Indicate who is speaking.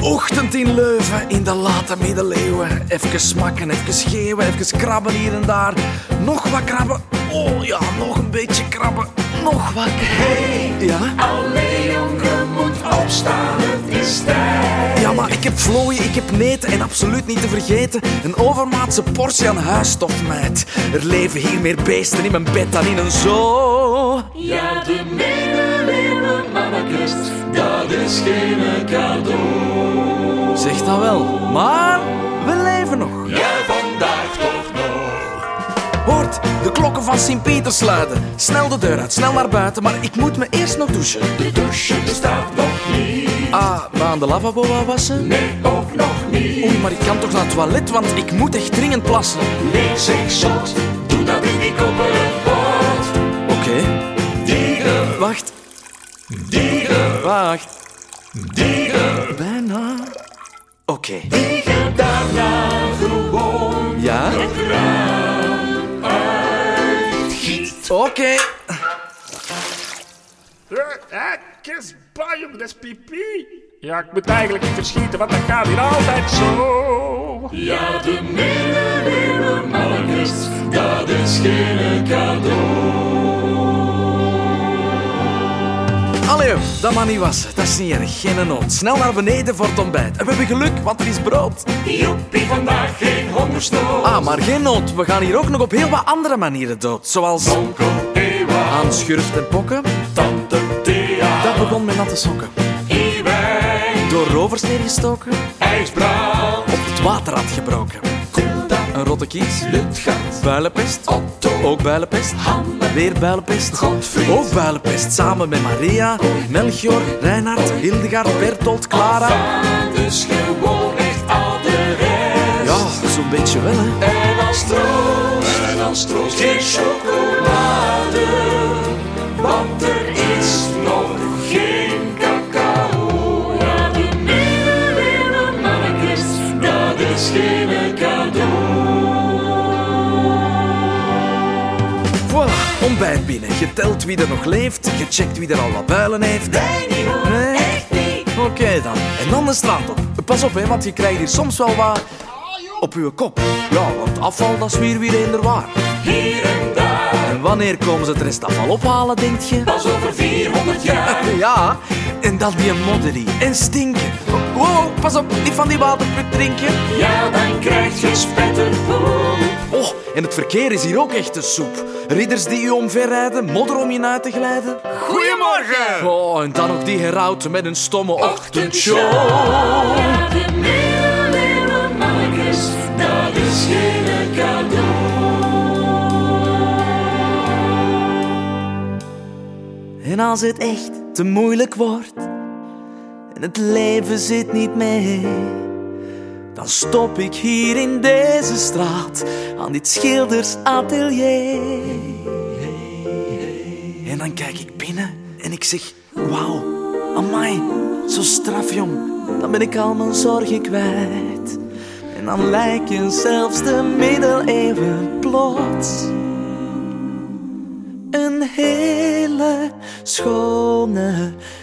Speaker 1: Ochtend in Leuven in de late middeleeuwen. Even smakken, even schreeuwen, even krabben hier en daar. Nog wat krabben. Oh ja, nog een beetje krabben. Nog wat Hey, ja?
Speaker 2: Alle jongen moet opstaan, het is tijd.
Speaker 1: ja, maar ik heb vlooien, ik heb neten en absoluut niet te vergeten. Een overmaatse portie aan huisstofmeid. Er leven hier meer beesten in mijn bed dan in een zoo.
Speaker 2: Ja, de middeleeuwen, mannekes, dat is geen cadeau.
Speaker 1: Zeg dat wel, maar we leven nog.
Speaker 2: Ja, vandaag toch nog.
Speaker 1: Hoort, de klokken van Sint-Pieter sluiten. Snel de deur uit, snel naar buiten, maar ik moet me eerst nog douchen.
Speaker 2: De douche bestaat nog niet,
Speaker 1: Ah, maar aan de lavabo wou wassen?
Speaker 2: nee, ook nog niet.
Speaker 1: Oei, maar ik kan toch naar het toilet, want ik moet echt dringend plassen.
Speaker 2: Lees ik zot, doe dat in die kopperen pot.
Speaker 1: Oké,
Speaker 2: Dieren,
Speaker 1: wacht,
Speaker 2: dieren,
Speaker 1: wacht,
Speaker 2: dieren.
Speaker 1: bijna. Oké,
Speaker 2: Dieren daarna gewoon
Speaker 1: ja?
Speaker 2: giet.
Speaker 1: Oké.
Speaker 3: Hé, Kes, jongen, dat is pipi. Ja, ik moet eigenlijk niet verschieten, want dat gaat hier altijd zo.
Speaker 2: Ja, de middeleeuwen, mannekes, dat is geen cadeau.
Speaker 1: Allee, joh, dat mag niet wassen. Dat is niet erg, geen nood. Snel naar beneden voor het ontbijt. En we hebben geluk, want er is brood.
Speaker 2: Joepie, vandaag geen hongerstoot.
Speaker 1: Ah, maar geen nood. We gaan hier ook nog op heel wat andere manieren dood. Zoals
Speaker 2: Onkel Ewa,
Speaker 1: aan schurft en pokken.
Speaker 2: tante Thea,
Speaker 1: Dat begon met natte sokken.
Speaker 2: Iwijn,
Speaker 1: Door rovers neergestoken.
Speaker 2: IJsbrand,
Speaker 1: Op het water had gebroken.
Speaker 2: Koenda,
Speaker 1: Een rotte kies.
Speaker 2: Lutgat,
Speaker 1: Builenpest.
Speaker 2: Otto,
Speaker 1: Ook builenpest.
Speaker 2: Hanne,
Speaker 1: Weer builenpest.
Speaker 2: Godfried.
Speaker 1: Ook builenpest. Samen met Maria, Melchior, Reinhard, Hildegard, Bertolt, Clara.
Speaker 2: Vaan, dus gewoon echt al de rest.
Speaker 1: Ja, zo'n beetje wel, hè.
Speaker 2: En als troost, en als troost geen chocolade, want er is nog geen cacao. Ja, de middeleeuwen mannekes, dat is geen cadeau.
Speaker 1: Voilà, ontbijt binnen. Geteld wie er nog leeft, gecheckt wie er al wat builen heeft. Nee, niet hoor, echt niet. Oké dan. En dan de straat op. Pas op, hè, want je krijgt hier soms wel wat op uw kop. Ja, want afval, dat is weer weer eender waar.
Speaker 2: Hier en daar,
Speaker 1: En wanneer komen ze het restafval ophalen, denk je?
Speaker 2: pas over 400 jaar.
Speaker 1: Ja, en dan die modderie en stinken. Wow, pas op, niet van die waterput drinken.
Speaker 2: Ja, dan krijg je spetterpoel.
Speaker 1: Oh, en het verkeer is hier ook echt de soep. Ridders die u omverrijden, modder om je na te glijden. Goedemorgen! Oh, en dan ook die herauten met een stomme ochtendshow.
Speaker 2: Ja, de middeleeuwen mannekes, dat is geen cadeau.
Speaker 1: En als het echt te moeilijk wordt en het leven zit niet mee, dan stop ik hier in deze straat aan dit schildersatelier. En dan kijk ik binnen en ik zeg: Wauw, amai, zo straf jong, dan ben ik al mijn zorgen kwijt. En dan lijken zelfs de middeleeuwen plots een hele schone